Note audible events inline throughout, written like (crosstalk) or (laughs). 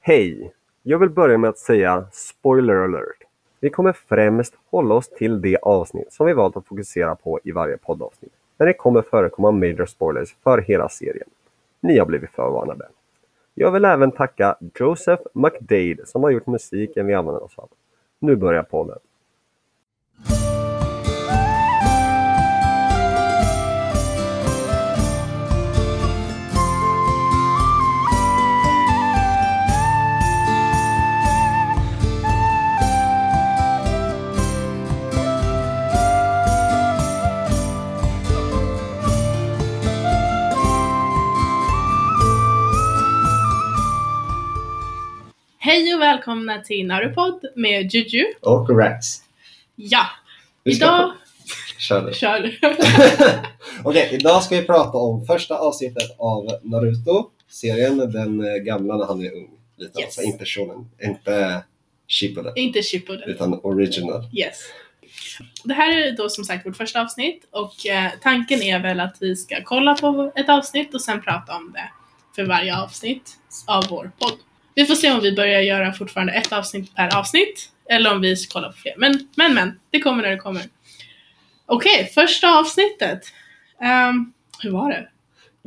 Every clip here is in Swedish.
Hej! Jag vill börja med att säga “spoiler alert”. Vi kommer främst hålla oss till det avsnitt som vi valt att fokusera på i varje poddavsnitt, men det kommer förekomma major spoilers för hela serien. Ni har blivit förvarnade. Jag vill även tacka Joseph McDade som har gjort musiken vi använder oss av. Nu börjar podden. Hej och välkomna till Narupod med Juju. Och Rax. Ja, Vi ska idag Kör du. kör du. Okej, idag ska vi prata om första avsnittet av Naruto. Serien, den eh, gamla när han är ung. Lite, Yes. Alltså inte shonen, inte Shippuden, (laughs) Inte Shippuden. utan original. Yes. Det här är då som sagt vårt första avsnitt och eh, tanken är väl att vi ska kolla på ett avsnitt och sen prata om det för varje avsnitt av vår podd. Vi får se om vi börjar göra fortfarande ett avsnitt per avsnitt eller om vi kollar på fler. Men, men, men, det kommer när det kommer. Okej, första avsnittet. Ehm, hur var det?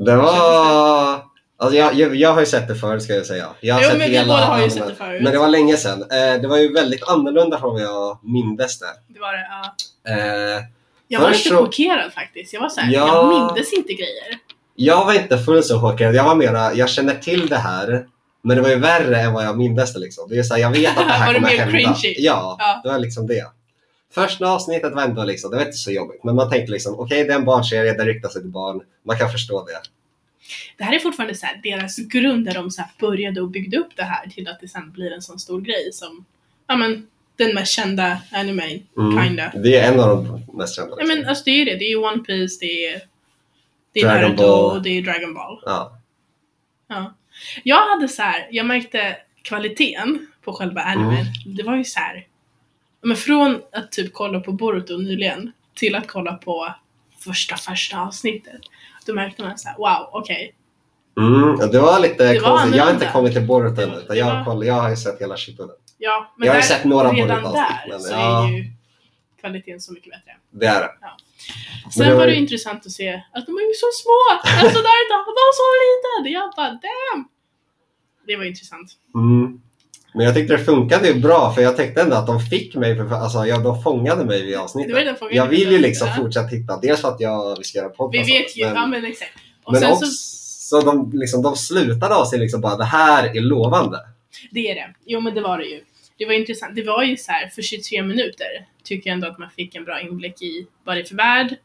Det var... Alltså jag, jag, jag har ju sett det förr ska jag säga. Jag har Jo, sett men vi hela båda har ju animen. sett det förut. Men det var länge sedan. Eh, det var ju väldigt annorlunda från vad jag mindes det. Det var det, ja. Eh, Jag var Först lite så- chockerad faktiskt. Jag var såhär, Ja. jag mindes inte grejer. jag var inte fullt så chockad. Jag var mera, jag känner till det här. Men det var ju värre än vad jag mindes det. Liksom. Det är så här, jag vet att det (laughs) här Var det kommer mer hända. cringy? Ja, Ja. det var liksom det. Första avsnittet var ändå liksom, det var inte så jobbigt. Men man tänkte liksom, okej det är en barnserie, den riktar sig till barn. Man kan förstå det. Det här är fortfarande så här, deras grund där de så här började och byggde upp det här till att det sen blir en sån stor grej som, ja men, den mest kända animen, Mm. kinda. Det är en av de mest kända. Ja Liksom. men alltså det är ju det, det är ju One Piece, det är, det är Dragon Naruto Ball. och det är Dragon Ball. ja. Ja. Jag hade så här, jag märkte kvaliteten på själva Mm. animen. Det var ju så här, ja, men från att typ kolla på Boruto nyligen till att kolla på första första avsnittet. Då märkte man så här, wow, okej. Mm, och det var lite Det var konstigt. Jag har annorlunda. inte kommit till Boruto Det än. var- utan det Jag, var- har koll- jag har ju sett hela Shippuden. Ja, men Jag har där, ju sett några redan Boruto-avsnitt, där men så ja. är ju kvaliteten så mycket bättre. Det är det. Sen det var var det ju- intressant att se att de är ju så små! Alltså Naruto, han var så liten! Jag bara damn! Det var intressant. Mm. Men jag tyckte det funkade ju bra för jag tänkte ändå att de fick mig, för, alltså ja, de fångade mig vid Det var ju avsnittet. den frågan Jag vill ju tänkte liksom ställa. fortsätta titta. Dels för att jag, vi ska göra podcast. Vi vet ju, men- ja men exakt. Och Men sen också, så, så de, liksom, de slutade av sig liksom bara det här är lovande. det är det. Jo men det var det ju. Det var intressant. Det var ju så här för 23 minuter tycker jag ändå att man fick en bra inblick i vad det är för värld,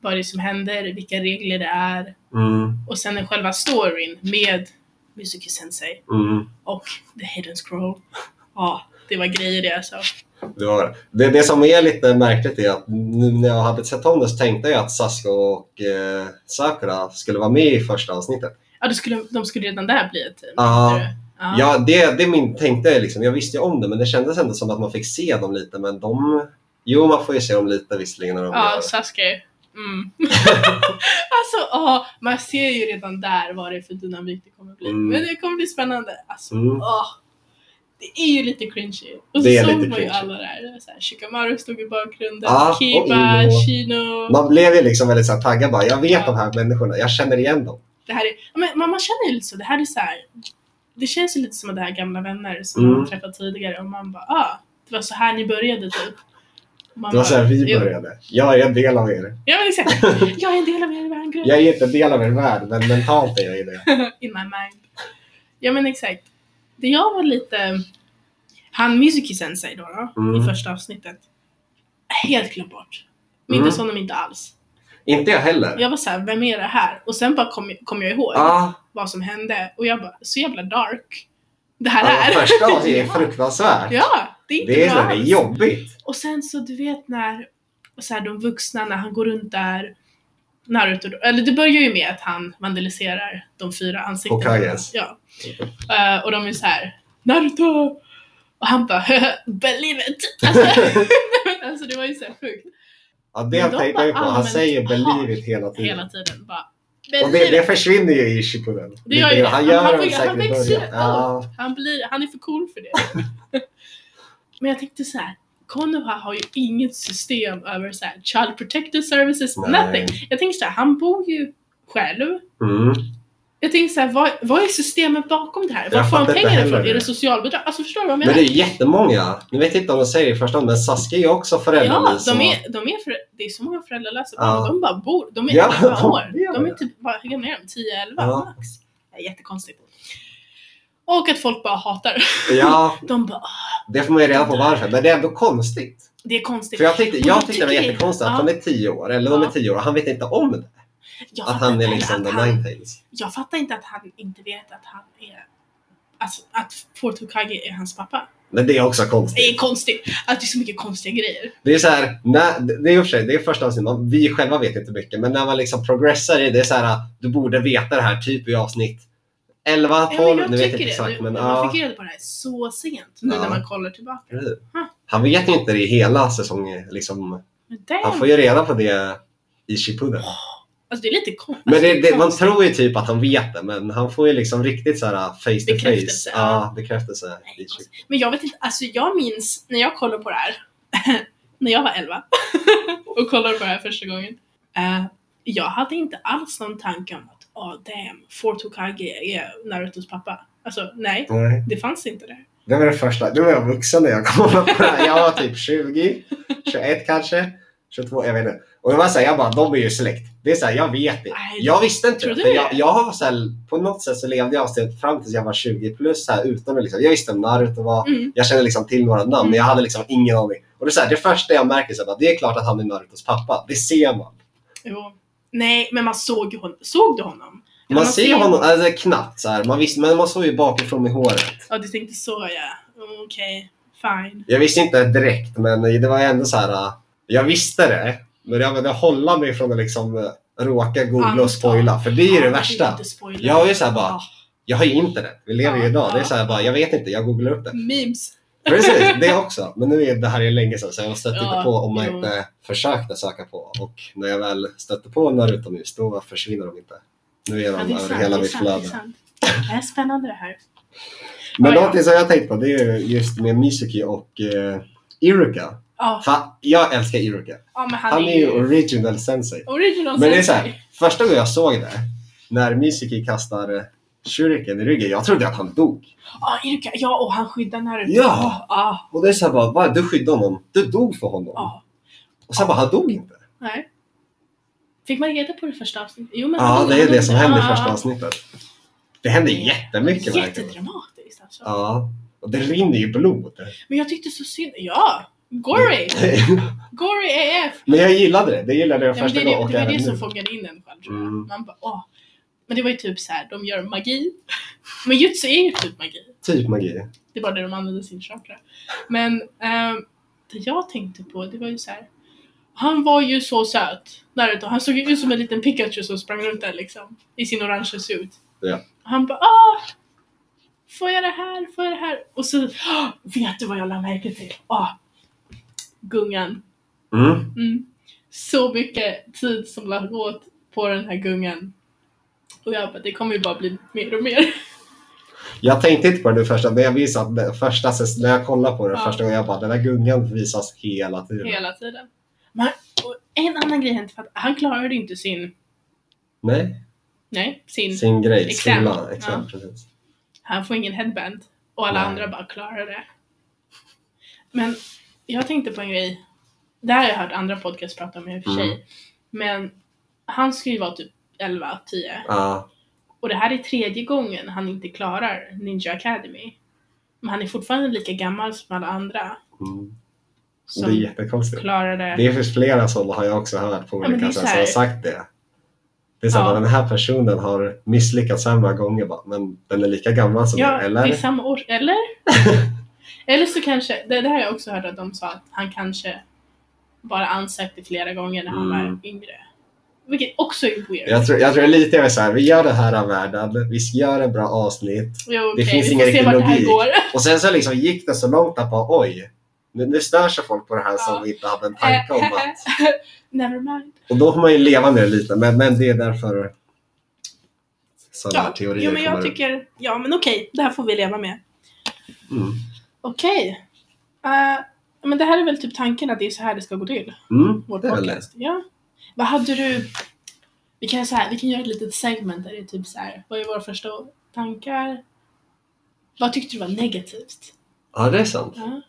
vad det är som händer, vilka regler det är och sen är själva storyn med Mizuki Sensei och The Hidden Scroll. Ja, det var grejer det alltså. Det, var det. Det, det som är lite märkligt är att nu när jag hade sett om det så tänkte jag att Sasuke och eh, Sakura skulle vara med i första avsnittet. Ja, då skulle, de skulle redan där bli ett team. Ja. tyckte du? Ja. Ja, det, det min, tänkte jag liksom. Jag visste ju om det men det kändes ändå som att man fick se dem lite men de Jo, man får ju se dem lite visserligen när de Ja, gör- Sasuke. (laughs) Mm. alltså, ja, man ser ju redan där vad det är för dynamik det kommer bli. Mm. Men det kommer bli spännande. Alltså, Mm. åh, det är ju lite cringy. Och så Det är såg man lite ju cringy. alla där. Det var så här, Shikamaru stod i bakgrunden, Ja, och Kiba, Ino. Shino. Man blev ju liksom väldigt så här taggad bara. Jag vet de här människorna. Jag känner igen dem. Det här är, ja, men man, man känner ju lite så, det här är så här. Det känns ju lite som att det här är gamla vänner som man Mm. har träffat tidigare och man bara ah, det var så här ni började typ. Och Man Det var så här bara, vi "Jo." började. Jag är en del av er. Ja men (laughs) exakt. Jag är en del av er värld. Jag är inte en del av er värld men mentalt är jag (laughs) ju det. In my mind. Ja men exakt. Det jag var lite, han Mizuki Sensei då, då Mm. i första avsnittet. Helt glömt bort. Mindes Mm. honom inte alls. Inte jag heller. Jag var så här, vem är det här? Och sen bara kom, kom jag ihåg Ja, vad som hände och jag bara, så jävla dark. Det här ah, är. första avsnittet är Ja. (laughs) fruktansvärt. Ja, det är inte Det är, så, bra det är alls. jobbigt. Och sen så du vet när så här, de vuxna, när han går runt där Naruto, eller det börjar ju med att han vandaliserar de fyra ansiktena. Hokages. Ja. Eh, och de är så här Naruto! Och han bara believe it! Alltså, (laughs) alltså det var ju så här sjukt Ja, det Men de tänkte jag ju på. bara Han allmänt säger hat believe it hela tiden. hela tiden. Bara, Men Och det, blir det försvinner ju i Shippuden. Det gör ju det. Han gör Han- han- det han säkert i växer början. upp. Ja, Han, blir, han är för cool för det. (laughs) Men jag tänkte så här. Konoha har ju inget system över så här, child protective services, nej. nothing. Jag tänker så här, han bor ju själv. Mm. Jag tänker så här, vad, vad är systemet bakom det här? Var Jag får han fattar inte pengarna heller ifrån? det. Är det socialbidrag? Alltså förstår du vad jag menar? Men det är ju jättemånga. Nu vet jag inte om de säger det först om men Saskia är ju också ja, föräldralös. de är, de är för, det är så många föräldralösa Ja. barn. De bara bor. De är Ja, 11 de år. lever. De är typ, vad hur gamla är de? 10, 11 Ja. max. Det är jättekonstigt. Och att folk bara hatar. Ja, De bara, "Ah, det får man ju reda på varför. Men det är ändå konstigt. det är konstigt. För jag tyckte, Och då jag tyckte det var tycker jag- jättekonstigt att ja. han är 10 år, eller de är Ja. 10 år, och han vet inte om det. Jag Att fattar han är inte liksom att the han- Ninetales. Jag fattar inte att han inte vet att han är... Alltså att Fortukage är hans pappa. Men det är också Det är konstigt. konstigt. Att det är så mycket konstiga grejer. Det är så här, när, det är i och för sig, det är första avsnittet, man- vi själva vet inte mycket, men när man liksom progressar i det, det är så här, du borde veta det här typ i avsnitt 11, Ja, 12, jag nu vet jag tycker inte det. exakt. Nu- man Men, ja, fick reda på det här så sent. Nu Ja. när man kollar tillbaka. han vet ju inte det i hela säsongen. Liksom, Men damn. han får ju reda på det i Shippuden. Alltså det är lite kon- Men alltså, det, det, man konstigt. tror ju typ att han vet det, men han får ju liksom riktigt så här face to Bekräftelse, face. ja. Ja, bekräftelse. i Shippuden. Men jag vet inte, alltså jag minns när jag kollade på det här, (laughs) när jag var 11 (laughs) och kollade på det här första gången. eh, jag hade inte alls någon tanke om att oh, damn, Fort Hokage är Narutos pappa. Alltså nej, Nej. det fanns inte det. Det var det första. Nu var jag vuxen när jag kollade på det här. Jag var typ 20, 21 kanske, 22, jag vet inte. Och jag var såhär, jag bara, de är ju släkt. Det är såhär, jag vet det. Nej, Jag visste inte tror det. du För jag, det? jag har så här, på något sätt så levde jag avsnitt fram tills jag var 20 plus här utan att liksom, jag visste vem Naruto var. Mm. Jag kände liksom till några namn, Mm. men jag hade liksom ingen aning. Och det är så här, det första jag märker så här, bara, det är klart att han är Narutos pappa. Det ser man. Jo. Nej, men man såg ju honom. Såg du honom? Man, Man ser ser- honom, alltså knappt så här. Man visste, men man såg ju bakifrån i håret. Ja, du tänkte så ja. Okej, fine. Jag visste inte direkt, men det var ändå så här. äh, Jag visste det, men jag ville hålla mig från att liksom äh, råka googla Anta. och spoila. För det är ju Ja, det vill värsta. inte spoila. Jag är ju så här bara- Ah, Jag har ju internet. Vi lever ju Ja, idag. Det är ja. så här bara, jag vet inte, jag googlar upp det. memes. Precis, det också. Men nu är det här är länge sedan, så jag stötte Ja, inte på om man jo. inte försökte söka på. Och när jag väl stötte på Naruto Mys, då försvinner de inte. Nu är Ja, de det är över sant, hela det är mitt sant, det är flöde. sant. Det är spännande det här. Men Ja, ja. någonting som jag har tänkt på, det är ju just med Mizuki och eh, Iruka. Ja, Fan, jag älskar Iruka. ja, men han, Han är ju original sensei. original Men det är så sensei. här, första gången jag såg det, när Mizuki kastar eh, shuriken i ryggen, jag trodde att han dog. Ja, Iruka. Ja, och han skyddar Naruto. Ja. Ja. Och det är såhär bara, va? Du skyddade honom. Du dog för honom. ja. Och sen bara, han dog inte. Nej. Fick man reda på det första avsnittet? Jo, men Ja, han- det är det som han- händer i ja, första ja. avsnittet. Det händer jättemycket verkligen. Jättedramatiskt alltså. Ja. Och det rinner ju blod. (laughs) Men jag tyckte så synd. Ja! Gory! Gory AF! Men jag gillade det. Det gillade jag Nej, men första det, det, gången och det var även det som nu. fångade in en själv tror jag. Mm, Man bara åh. Men det var ju typ så här, de gör magi. (laughs) Men jutsu är ju typ magi. typ magi. Det är bara det de använder sin chakra. Men ehm, det jag tänkte på, det var ju så här. Han var ju så söt, Naruto. Han såg ju ut som en liten Pikachu som sprang runt där liksom. I sin orange suit. Ja. Han bara ah! Får jag det här? Får jag det här? Och så, "Ah, vet du vad jag lade märke till? Ah! Gungan. Mm. Mm. Så mycket tid som lade åt på den här gungan. Och jag bara, det kommer ju bara bli mer och mer. Jag tänkte inte på det nu första, men jag visade att det första, när jag kollade på det Ja. första gången, jag bara, den där gungan visas hela tiden. Hela tiden. Men, och en annan grej hände för att han klarade ju inte sin, Nej. nej, sin, sin grej, Exam. skolan. Exam, precis. han får ingen headband. Och alla Nej. andra bara klarar det. Men jag tänkte på en grej. Det här har jag hört andra podcast prata om i och för sig. Mm. Men han ska ju vara typ 11, 10. Ja, Och det här är tredje gången han inte klarar Ninja Academy. Men han är fortfarande lika gammal som alla andra. mm. det är Som jättekonstigt. klarade... Det finns flera sådana har jag också hört på Ja, men det är olika sätt så som här- har sagt det. Det är så här, Ja. bara, den här personen har misslyckats så här många gånger bara, men den är lika gammal som Ja, jag, eller? det är samma år, (laughs) eller? eller så kanske, det, det här har jag också hört att de sa att han kanske bara ansökte flera gånger när han Mm. var yngre. Vilket också är weird. Jag tror, jag tror lite jag är så här, vi gör det här av världen, vi gör en bra avsnitt Jo, det okej, finns vi ingen får se riktig vart det här logik. (laughs) går. och sen så liksom gick det så långt att bara oj, nu, nu stör sig folk på det här som vi inte hade en tanke om att (laughs) Never mind. Och då får man ju leva med det lite, men, men det är därför sådana Ja, teorier jo, men jag kommer upp. tycker, ja men okej, det här får vi leva med. Mm. Okej. Eh, men det här är väl typ tanken att det är så här det ska gå till. Mm, Vår det är väl det. podcast. Ja. Vad hade du... Vi kan, så här, vi kan göra ett litet segment där det är typ så här. Vad är våra första tankar? Vad tyckte du var negativt? Ja, det är sant. Ja.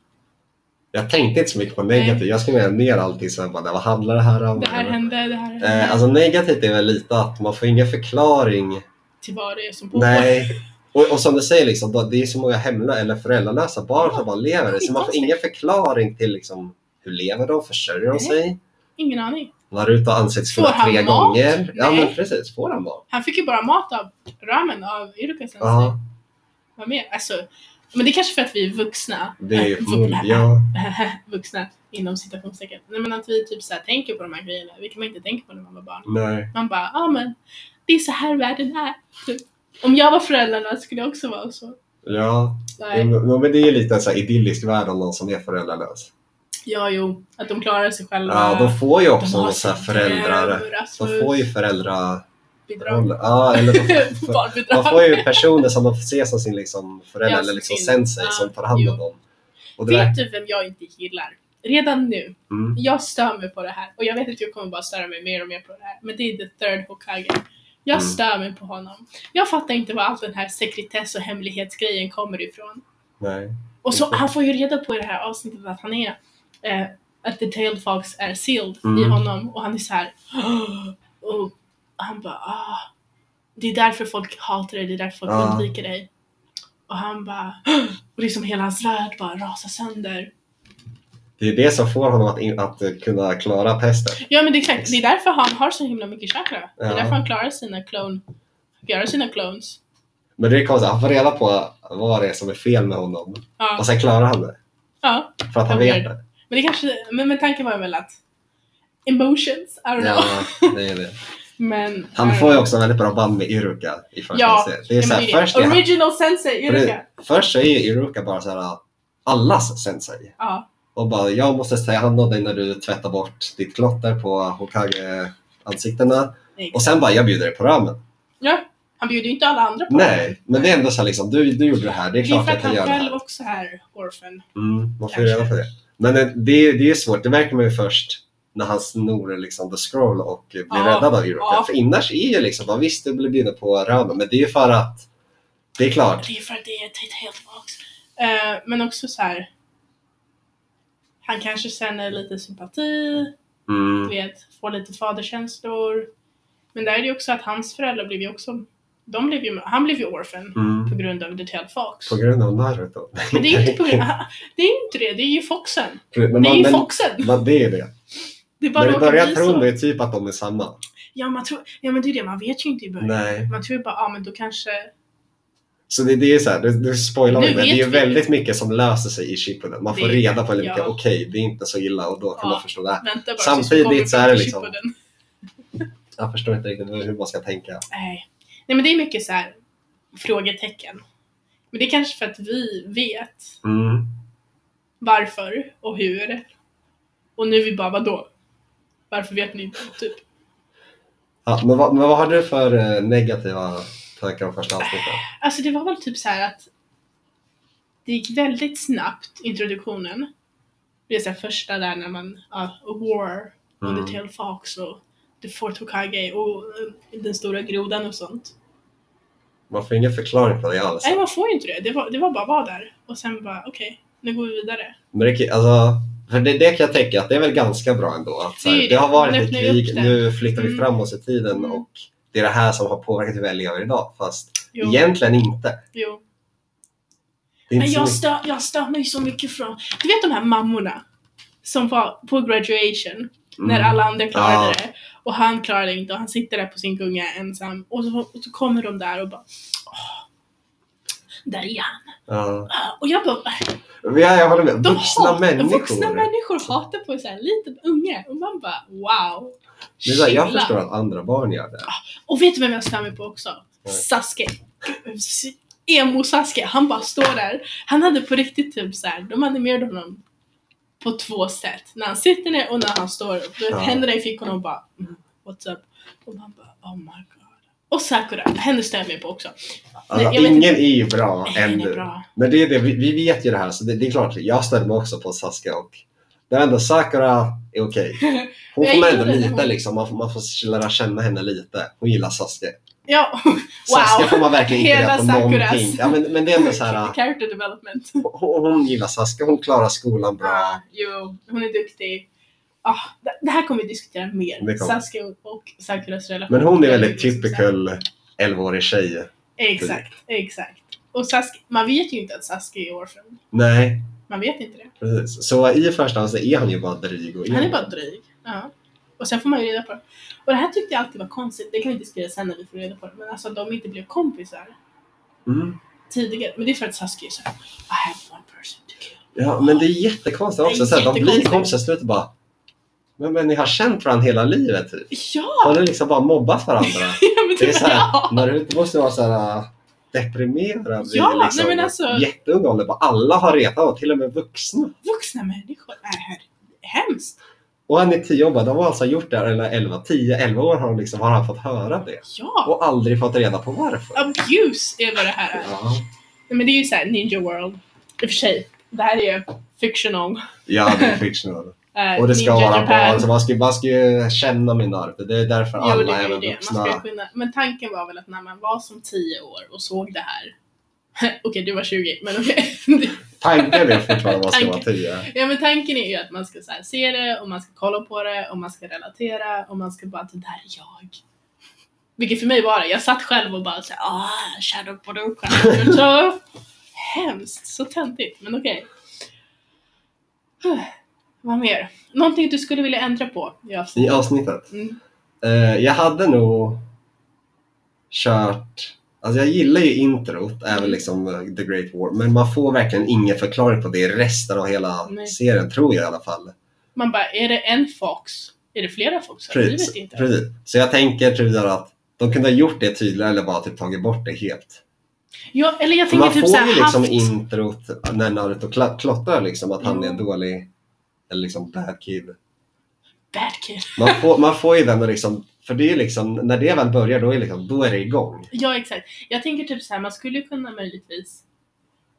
Jag tänkte inte så mycket på negativt. Jag skrev ner allting så jag bara, vad handlar det här om? Det här hände, det här hände. Eh, alltså negativt är väl lite att man får ingen förklaring till vad det är som pågår. Nej. Och, och som du säger, liksom, då- det är så många hemlösa eller föräldralösa barn som bara lever. Så man får ingen förklaring till liksom, hur lever de? Försörjer de Nej. sig? Ingen aning. Naruto anses Får kunna han tre mat? gånger. Ja, Nej. men precis. Får han mat? Han fick ju bara mat av ramen av Iruka sensei. Ja, Vad mer? Alltså, men det är kanske för att vi är vuxna. det är ju Äh, förmodligen... vuxna. Ja. (laughs) vuxna inom citationstecken. Nej men att vi typ så här tänker på de här grejerna, vilket man inte tänker på när man var barn. Nej. Man bara, ja ah, men det är så här världen är. Typ. Om jag var föräldrarna skulle jag också vara så. Ja. Nej. Jo, Men det är ju lite en så här idyllisk värld om någon som är föräldralös. Ja, jo. Att de klarar sig själva. Ja, de får ju De också har eh, någon så här föräldrar... De får ju föräldrar... bidrag. Ja, eller de (laughs) får, Barnbidrag. Man får ju personer som de ser som sin liksom förälder Ja, eller liksom sin- sensei ja, som tar hand om jo. dem. Och det där, Vet du vem jag inte gillar? Redan nu. mm, Jag stör mig på det här. Och jag vet att jag kommer bara störa mig mer och mer på det här. Men det är the third Hokage. Jag Mm. stör mig på honom. Jag fattar inte var all den här sekretess och hemlighetsgrejen kommer ifrån. nej. Och så, Exakt. han får ju reda på i det här avsnittet att han är, eh, att the tailed fox är sealed i Mm. honom och han är så här. (gasps) "Åh!" och han bara ah, det är därför folk hatar dig, det är därför folk Ja. undviker dig. Och han bara, (gasps) "Åh!" och liksom hela hans värld bara rasar sönder. Det är det som får honom att, in, att eh, kunna klara pesten. Ja men det är klart, det är därför han har så himla mycket chakra. Det Ja. är därför han klarar sina clone, göra sina clones. Men det är konstigt, han får reda på vad det är som är fel med honom. Ja, Och sen klarar han det. ja. För att han Ja, vet weird. det. Men det kanske, men, men tanken var väl att emotions, I don't know. (laughs) Ja, det är det. Men, eh, I Han don't får ju know. också väldigt bra band med Iruka i första Ja, serien. Det är så här, Ja, men först, det är är det. han, Original sensei, Iruka. först så är Iruka bara så här allas sensei. Ja. Och bara, jag måste ta hand om dig när du tvättar bort ditt klotter på Hokage-ansiktena. nej. Och sen bara, jag bjuder dig på ramen. ja. Han bjuder ju inte alla andra på Nej, men det är ändå så här liksom, du, du gjorde det här, det det. är Det är klart för jag att kan han göra det själv här. också är orphan. Mm, man får ju reda på det. Men det, det, är- det är ju svårt, det märker man ju först när han snor liksom the scroll och blir Ja, räddad av Iroka. ja. För annars är ju liksom, bara, visst du blir bjuden på ramen, men det är ju för att det är klart. Det är för att det är ett helt box. Eh, men också så här. Han kanske känner lite sympati, du Mm, vet, får lite faderkänslor. Men där är det ju också att hans föräldrar blev ju också, de blev ju, han blev ju orphan mm. på grund av The Tailed Fox. På grund av Naruto. Men det är ju (laughs) inte på grund (laughs) det är inte det, det är ju foxen. Men man, Det är ju men, foxen! man, det är det. Det bara När du råkar börjar bli tro så. det typ att de är samma. Ja, man tror, ja men det är det, man vet ju inte i början. Nej. Man tror ju bara, ja ah, men då kanske... Så det, det är så här, du, du spoilar Nu mig, men det vet är ju vi. väldigt mycket som löser sig i Shippuden. Man får Det- reda på väldigt ja. mycket, okej det är inte så illa och då kan Ja. man förstå det här. Vänta bara Samtidigt kommer så är det vi till liksom- Shippuden. Jag förstår inte riktigt hur man ska tänka. Nej. Nej men det är mycket så här frågetecken. Men det är kanske för att vi vet Mm. varför och hur. Och nu är vi bara, vadå? Varför vet ni inte? Typ. Ja, men, vad, men vad har du för eh, negativa tankar om första avsnittet? Alltså det var väl typ så här att det gick väldigt snabbt, introduktionen. Det är så här första där när man, ja, a war on Mm. the tail fox och the fort Hokage och eh, den stora grodan och sånt. Man får ingen förklaring på det alls. Nej, man får ju inte det. Det var, det var bara vara där. Och sen bara, okej, nu går vi vidare. Men det, kan- alltså, för det, det kan jag tänka att det är väl ganska bra ändå. Att, så här, Det är det, det. har varit Man ett öppnar ju krig, upp det. nu flyttar vi Mm. fram oss i tiden Mm. och det är det här som har påverkat hur vi lever idag. Fast Jo, egentligen inte. jo. Det är Men inte så jag mycket. stör, jag stör mig så mycket från... Du vet de här mammorna? Som var på graduation, när Mm. alla andra klarade Ja. det. Och han klarade inte och han sitter där på sin gunga ensam. Och så, och så kommer de där och bara... "Åh, där är han. Ja. Och jag bara... Men Jag, jag håller med. De Vuxna hat- människor. Vuxna människor hatar på en sån här liten unge. Och man bara wow. Det är så här, jag Chilla. förstår att andra barn gör det. Och vet du vem jag stör mig på också? Nej. Sasuke. Emo-Sasuke. Han bara står där. Han hade på riktigt typ så här. de animerade honom på två sätt. När han sitter ner och när han står upp. Du vet, Ja. Händerna i fickorna och bara mm, what's up? Och man bara oh my god. Och Sakura, henne stämmer jag på också. Alltså, jag vet ingen är ju bra Henne är ännu. bra. Men det är det, vi, vi vet ju det här, så det, det är klart, jag ställer mig också på Saskia och det är ändå Sakura (laughs) är okej. Hon Jag får man gillar ändå det, lite hon- liksom, man får, man får lära känna henne lite. Hon gillar Saskia. Ja, Saskia wow. får man verkligen inte Hela rätt på Sakuras. någonting. Ja, men, men det är ändå så här, (laughs) Character development. hon, hon gillar Saskia, hon klarar skolan Ah, bra. jo, hon är duktig. Ah, det- det här kommer vi diskutera Det mer. kommer. Saskia och- och Sakuras relation. Men hon är väldigt Det liksom så här- typical 11-årig tjej. Exakt, exakt. Och Saskia, man vet ju inte att Saskia är orphan. Nej, Man vet inte det. precis. Så i första hand så är han ju bara dryg. Och Han är bara dryg. Ja. Och sen får man ju reda på det. Och det här tyckte jag alltid var konstigt. Det kan vi diskutera sen när vi får reda på det. Men alltså att de inte blev kompisar Mm. tidigare. Men det är för att Saskia är såhär, I have one person to kill. Ja, men det är jättekonstigt Det är också. Så här, de blir jättekonstigt. kompisar i slutet och bara men, men ni har känt varandra hela livet typ. Ja! (laughs) Har ni liksom bara mobbat varandra? ja men Det är typ, så (laughs) ja! här, Naruto måste vara så här äh, deprimerad. i Ja, liksom, nej, men alltså- Jätteung ålder. bara Alla har retat honom, till och med vuxna. Vuxna människor är hemskt. Och han är 10 år bara, de har alltså gjort det här, eller 11, 10, 11 år har, de liksom, har han fått höra det. Ja! Och aldrig fått reda på varför. Abuse är vad det här är. Ja, Nej, men det är ju såhär Ninja World. I och för sig, det här är ju fictional. ja det (laughs) är fictional. eh, Och det ska Ninja vara Japan. barn, så man ska, man ska ju känna min Naruto. Det är därför Jo, det alla, är ju även det. Man ska vuxna. kunna... Men tanken var väl att när man var som 10 år och såg det här. (laughs) okej, du var 20, men okej. Tanken är fortfarande att (laughs) man ska vara Tanken. 10. ja, men tanken är ju att man ska så här, se det och man ska kolla på det och man ska relatera och man ska bara, det där är jag. Vilket för mig var det. Jag satt själv och bara såhär, ah, shadow production. Så hemskt, så töntigt, men okej. Vad mer? Någonting du skulle vilja ändra på i I avsnittet? avsnittet. Mm. Eh, jag hade nog kört... Alltså jag gillar ju introt, Mm. även liksom eh, The Great War, men man får verkligen ingen förklaring på det i resten av hela Nej. serien, tror jag i alla fall. Man bara, är det en fox? Är det flera foxar? Vi vet inte. precis. Så jag tänker typ där att de kunde ha gjort det tydligare eller bara typ tagit bort det helt. Ja, eller jag För tänker man typ får såhär ju liksom haft... introt när Naruto kla- klottrar liksom, att han är en Mm. dålig, eller liksom bad kid. Bad kid. Man får, man får ju den och liksom, för det är ju liksom, när det väl börjar då är, liksom, då är det igång. Ja, exakt. Jag tänker typ såhär, man skulle kunna möjligtvis...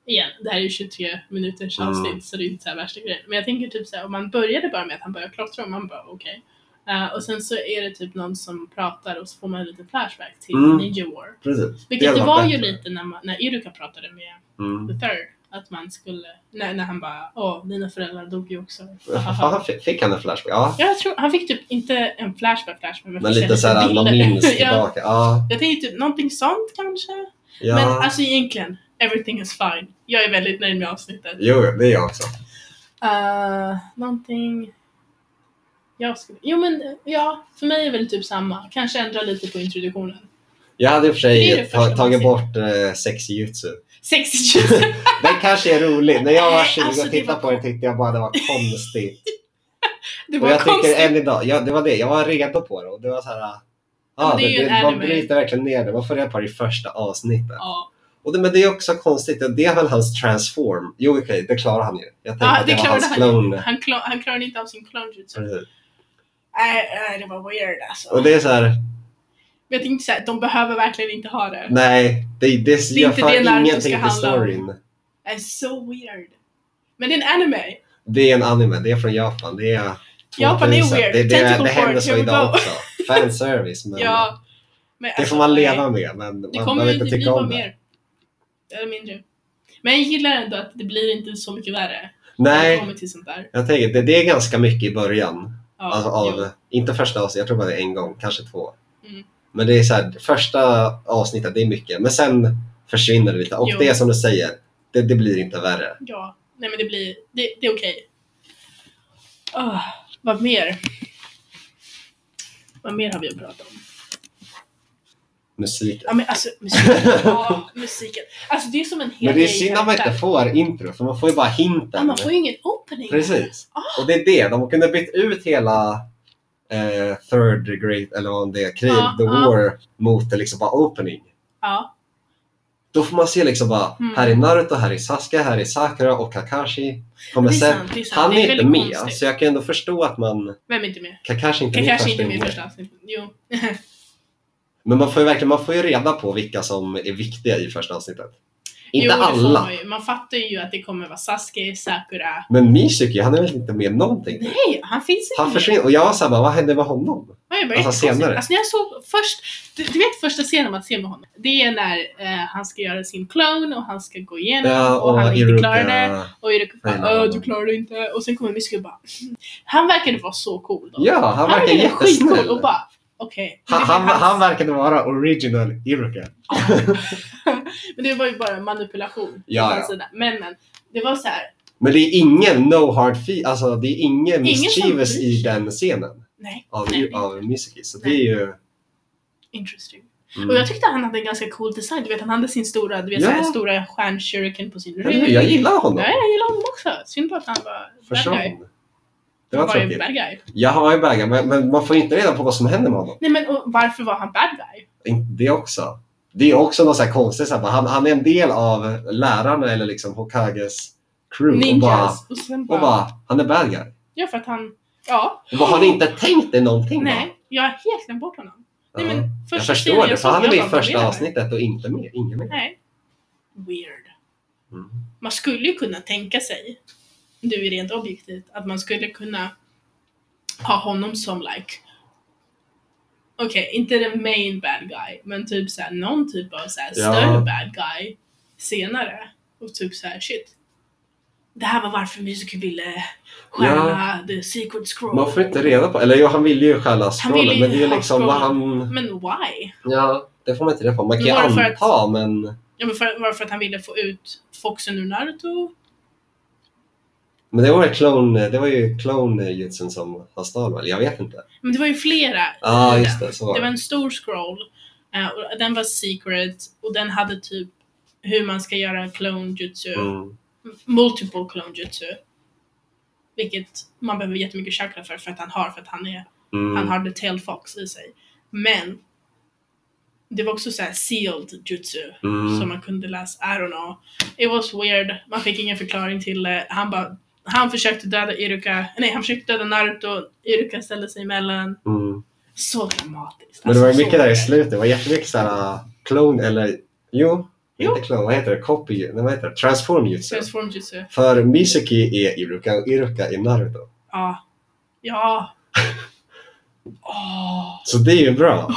Igen, det här är ju 23 minuters Mm. avsnitt så det är inte såhär värsta grejen. Men jag tänker typ såhär, om man började bara med att han börjar klottra och man bara okej. Eh, och sen så är det typ någon som pratar och så får man en liten flashback till Mm. Ninja War. Precis. Vilket det, hade var varit ju bättre. lite när, man, när Iruka pratade med Mm. The Third. Att man skulle, när, när han bara åh, mina föräldrar dog ju (laughs) också. Fan, fick- fick han en flashback? Ja. Ja, jag tror, han fick typ inte en flashback flashback Men lite så här att man minns (laughs) ja, tillbaka. Ja. Jag tänker typ någonting sånt kanske. ja. Men alltså egentligen, everything is fine. Jag är väldigt nöjd med avsnittet. Jo, det är jag också. Uh, någonting... Jag skulle... Jo men eh, ja, för mig är väl typ samma. Kanske ändra lite på introduktionen. Jag hade i och för Det är det sig första ta, man tagit ser. bort eh, sexy jutsu. Sex tjugo. Den kanske är rolig. När jag var 20 Alltså, det och tittade var på den tyckte jag bara det var konstigt. (laughs) Det och var jag konstigt. tycker än idag, ja, det var det, jag var redo på det och det var så här. men Ja, det är det, ju en det, man anime. bryter verkligen ner det. Man får reda på det i första avsnittet. Ja, Och det, men det är också konstigt, det- det är väl hans transform? Jo okej, det klarar han ju. Jag tänkte Ja, att det det, var klarade hans han. klon. Han, kla- han klarade inte av sin clone jutsu. Precis. Nej, nej, det var weird alltså. Mm. Och det är så här, Men jag tänkte såhär, de behöver verkligen inte ha det. Nej, det, det, Det är gör inte fan det Naruto ska ingenting till handla om. storyn. är so weird. Men det är en anime. Det är en anime, det är från Japan. Det är 2000. Japan är weird. Det, det, Tentacle det händer porn, så here we idag go. också. Fanservice. (laughs) Men Ja. Men Det alltså, får man nej. leva med, men Det man kommer ju behöver inte inte bli tycka något om det. mer. Eller mindre. Men jag gillar ändå att det blir inte så mycket värre. När det Nej, kommer till sånt där. jag tänker det, det är ganska mycket i början. Ja, Alltså jo. av, inte första avsnittet, jag tror bara det är en gång, kanske två. Mm. Men det är så här, första avsnittet, det är mycket. Men sen försvinner det lite. Och Jo. det är som du säger, det, det blir inte värre. Ja. Nej men det blir, det, det är okej. Ah, vad mer? Vad mer har vi att prata om? Musiken. Ja men alltså (laughs) musiken. Ja, musiken. Alltså det är som en hel Men det är grej i synd att man inte karaktär. får intro, för man får ju bara hinten. ja, man får ju ingen opening. Precis. Ah. Och det är det. De kunde ha bytt ut hela eh, third great, eller vad det är, krig, Ja, the ja. war, mot det liksom bara opening. Ja. Då får man se liksom bara, Mm. här är Naruto, här är Sasuke, här är Sakura och Kakashi. Kommer det är sen. sant, det är sant. Han det är, är inte väldigt med, konstigt. så jag kan ändå förstå att man... Vem är inte med? Kakashi är inte Kakashi är inte med med i första första gången. avsnittet. Jo. Men man får ju verkligen man får ju reda på vilka som är viktiga i första avsnittet. Inte Jo, det får alla. Man, ju. man fattar ju att det kommer vara Sasuke, Sakura. Men Misyki, han är väl inte med någonting? Nej, han finns inte Han försvinner. Och jag var såhär, bara, vad hände med honom? Ja, jag bara, Alltså, jättekonstigt. senare. Alltså, när jag såg först, du, du vet första scenen man ser med honom? Det är när eh, han ska göra sin clone och han ska gå igenom och, han inte klarar det. Och Iruka Nej, bara nej, "Åh, nej. du klarar det inte. Och sen kommer Misku och bara "Mm." Han verkade vara så cool då. Ja, han verkar är skitcool jättesnäll. och bara okej. Han, Men han, det är hans- han verkade vara original Iruka. Men det var ju bara manipulation Ja, från ja. hans sida. Men men, det var så här. Men det är ingen no hard feel, alltså det är ingen Ingen som mischievous bryr sig. i den scenen Nej, av, Nej. av Mizuki. Så det Nej. är ju... interesting. Mm. Och jag tyckte han hade en ganska cool design. Du vet, han hade sin stora, du vet, Ja. så här, stora stjärnshuriken på sin Eller hur? jag gillar honom. Ja, jag gillar honom också. Synd bara att han var bad guy. Försvann. Det var han var ju tråkigt. bad guy. Ja, han var ju bad guy, men, men man får inte reda på vad som händer med honom. Nej men och varför var han bad guy? Inte Det också. Det är också något så här konstigt. Så här, bara, han, han är en del av lärarna eller liksom Hokages crew. Och bara, Ninjas. Och sen och bara, bara, han är bad guy. Ja för att han, ja. Och bara, har ni inte tänkt er någonting? Nej, jag har helt glömt bort honom. då? Nej, Ja. men jag första förstår scenen det, för såg, han är jag med i bara, vad är det första här? avsnittet och inte med. Ingen med. Nej. Weird. Mm. Man skulle ju kunna tänka sig, du är rent objektivt, att man skulle kunna ha honom som like Okej, inte den main bad guy, men typ såhär någon typ av såhär Ja. större bad guy senare. Och typ såhär shit. Det här var varför Musical ville stjäla the secret scroll. Man får inte reda på, eller jo, han ville ju stjäla ville scrollen, ju men det är ju ha liksom vad han... Men why? Ja, det får man inte reda på. Man kan ju Bara för att- anta, men, Ja, men för, varför att han ville få ut Foxen ur Naruto? men det var ju clone, det var ju clone jutsun som han stal väl? Jag vet inte. Men det var ju flera Ja, i ah, den. just det. Så var Det var det. en stor scroll. eh, och den var secret och den hade typ hur man ska göra clone jutsu. Mm. Multiple clone jutsu. Vilket man behöver jättemycket chakra för, för att han har, för att han, är, han Mm. har the tail fox i sig. Men det var också så här sealed jutsu som Mm. man kunde läsa. I don't know. It was weird. Man fick ingen förklaring till det. Han bara han försökte döda Iruka, nej han försökte döda Naruto, Iruka ställde sig emellan. Mm. Så dramatiskt. Men det var ju Alltså, mycket så där i weird. slutet, det var jättemycket såhär äh, clone eller, jo, Jo. inte clone, vad heter det? Copy, nej, vad heter det? Transform jutsu. Transform jutsu. För Mizuki är Iruka och Iruka är Naruto. Ja. Ja. Åh. Så det är ju bra.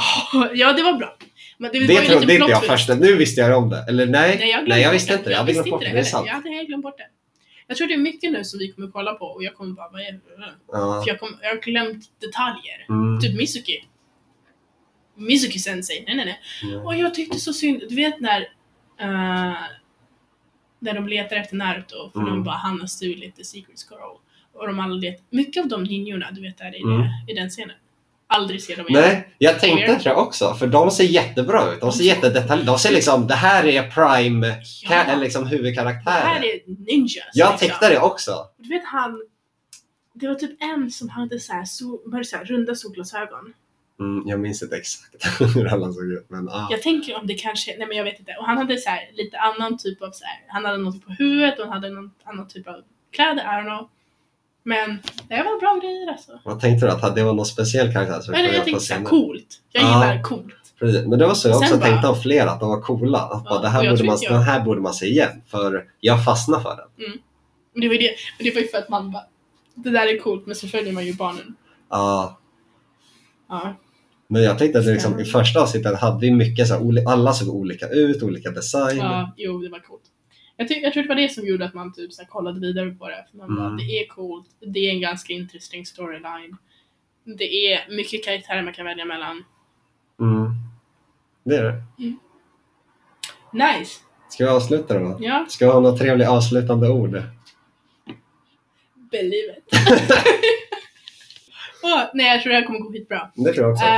Ja, det var bra. Men det, var Det ju lite trodde inte plot jag twist. först. Nu visste jag om det. Eller nej, Nej, jag, glömde nej, jag bort visste inte det. Jag hade glömt visste bort det. inte Det är heller. sant. Jag hade helt glömt bort det. Jag tror det är mycket nu som vi kommer kolla på och jag kommer bara, vad är det? Ja. För jag, kom, jag har glömt detaljer. Mm. Typ Mizuki. Mizuki sensei. Nej, nej, nej. Ja. Och jag tyckte så synd. Du vet när... eh, när de letar efter Naruto. För Mm. de bara, han har stulit the secret scroll. Och de alla letar. Mycket av de ninjorna du vet där i, Mm. det, i den scenen. Aldrig ser de igen. Nej, jag tänkte det också. För de ser jättebra ut. De ser jättedetaljerade De ser liksom, det här är prime, Ja, ka- eller liksom det här huvudkaraktärer. är ninjas. Jag liksom. tänkte det också. Du vet han... Det var typ en som hade så här, sol, var det så här runda solglasögon. Mm, jag minns inte exakt (laughs) hur alla såg ut. Men, ah. Jag tänker om det kanske, nej men jag vet inte. Och han hade så här lite annan typ av så här, han hade något på huvudet och han hade någon annan typ av kläder, I don't know. Men det var bra grejer alltså. Vad tänkte du? Att det var någon speciell karaktär? Som vi får Eller reda jag på tänkte såhär senare? coolt. Jag Ja. gillar coolt. Precis. Men det var så jag Sen också bara- tänkte om flera, att de var coola. Att Ja, bara, det och här jag borde man, tyckte jag- den här borde man se igen, för jag fastnar för den. Men det var ju det, men det var ju för att man bara, det där är coolt men så följer man ju barnen. Ah. Ja. Men jag tänkte att det liksom, i Stämmer. första avsnittet hade vi mycket så här, oli- alla såg olika ut, olika design. ja, jo det var coolt. Jag, ty- jag tror det var det som gjorde att man typ så här kollade vidare på det. För man bara, Mm. det är coolt, det är en ganska intressant storyline. Det är mycket karaktärer man kan välja mellan. Mm. Det är det. Nice! Ska vi avsluta då? Ja. Ska vi ha några trevliga avslutande ord? Believe (laughs) it. Åh, nej, jag tror det här kommer gå skitbra. Det tror jag också. Uh,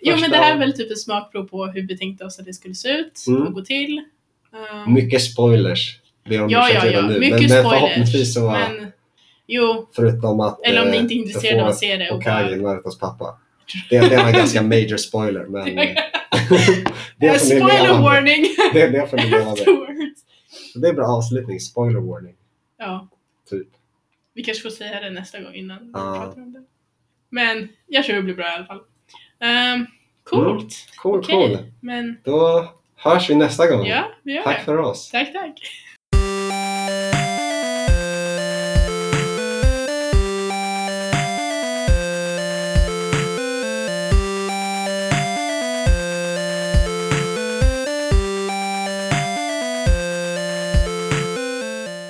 jo, men Första- det här är väl typ ett smakprov på hur vi tänkte oss att det skulle se ut Mm. och gå till. Ehm, mycket spoilers. Det är om ja, ursäkt ja, ja. redan nu. Mycket men, spoilers. men förhoppningsvis så var Men, jo, förutom att eller om ni eh, inte är intresserade av att få se det. Och Hokage, (laughs) Narutos pappa. Det, det var en ganska major spoiler men eh, bara, (laughs) det får ni leva Eh, spoiler med. warning (laughs) Det, det får ni leva (laughs) med. afterwards. Så Det är bra avslutning, spoiler warning. Ja, Typ. Ah. vi kanske får säga det nästa gång innan vi Ja. pratar om det. Men jag tror det blir bra i alla fall. Ehm, Coolt. Mm. Cool, Okej, cool. men Då hörs vi nästa gång. ja, vi gör Tack det. för oss. Tack, tack.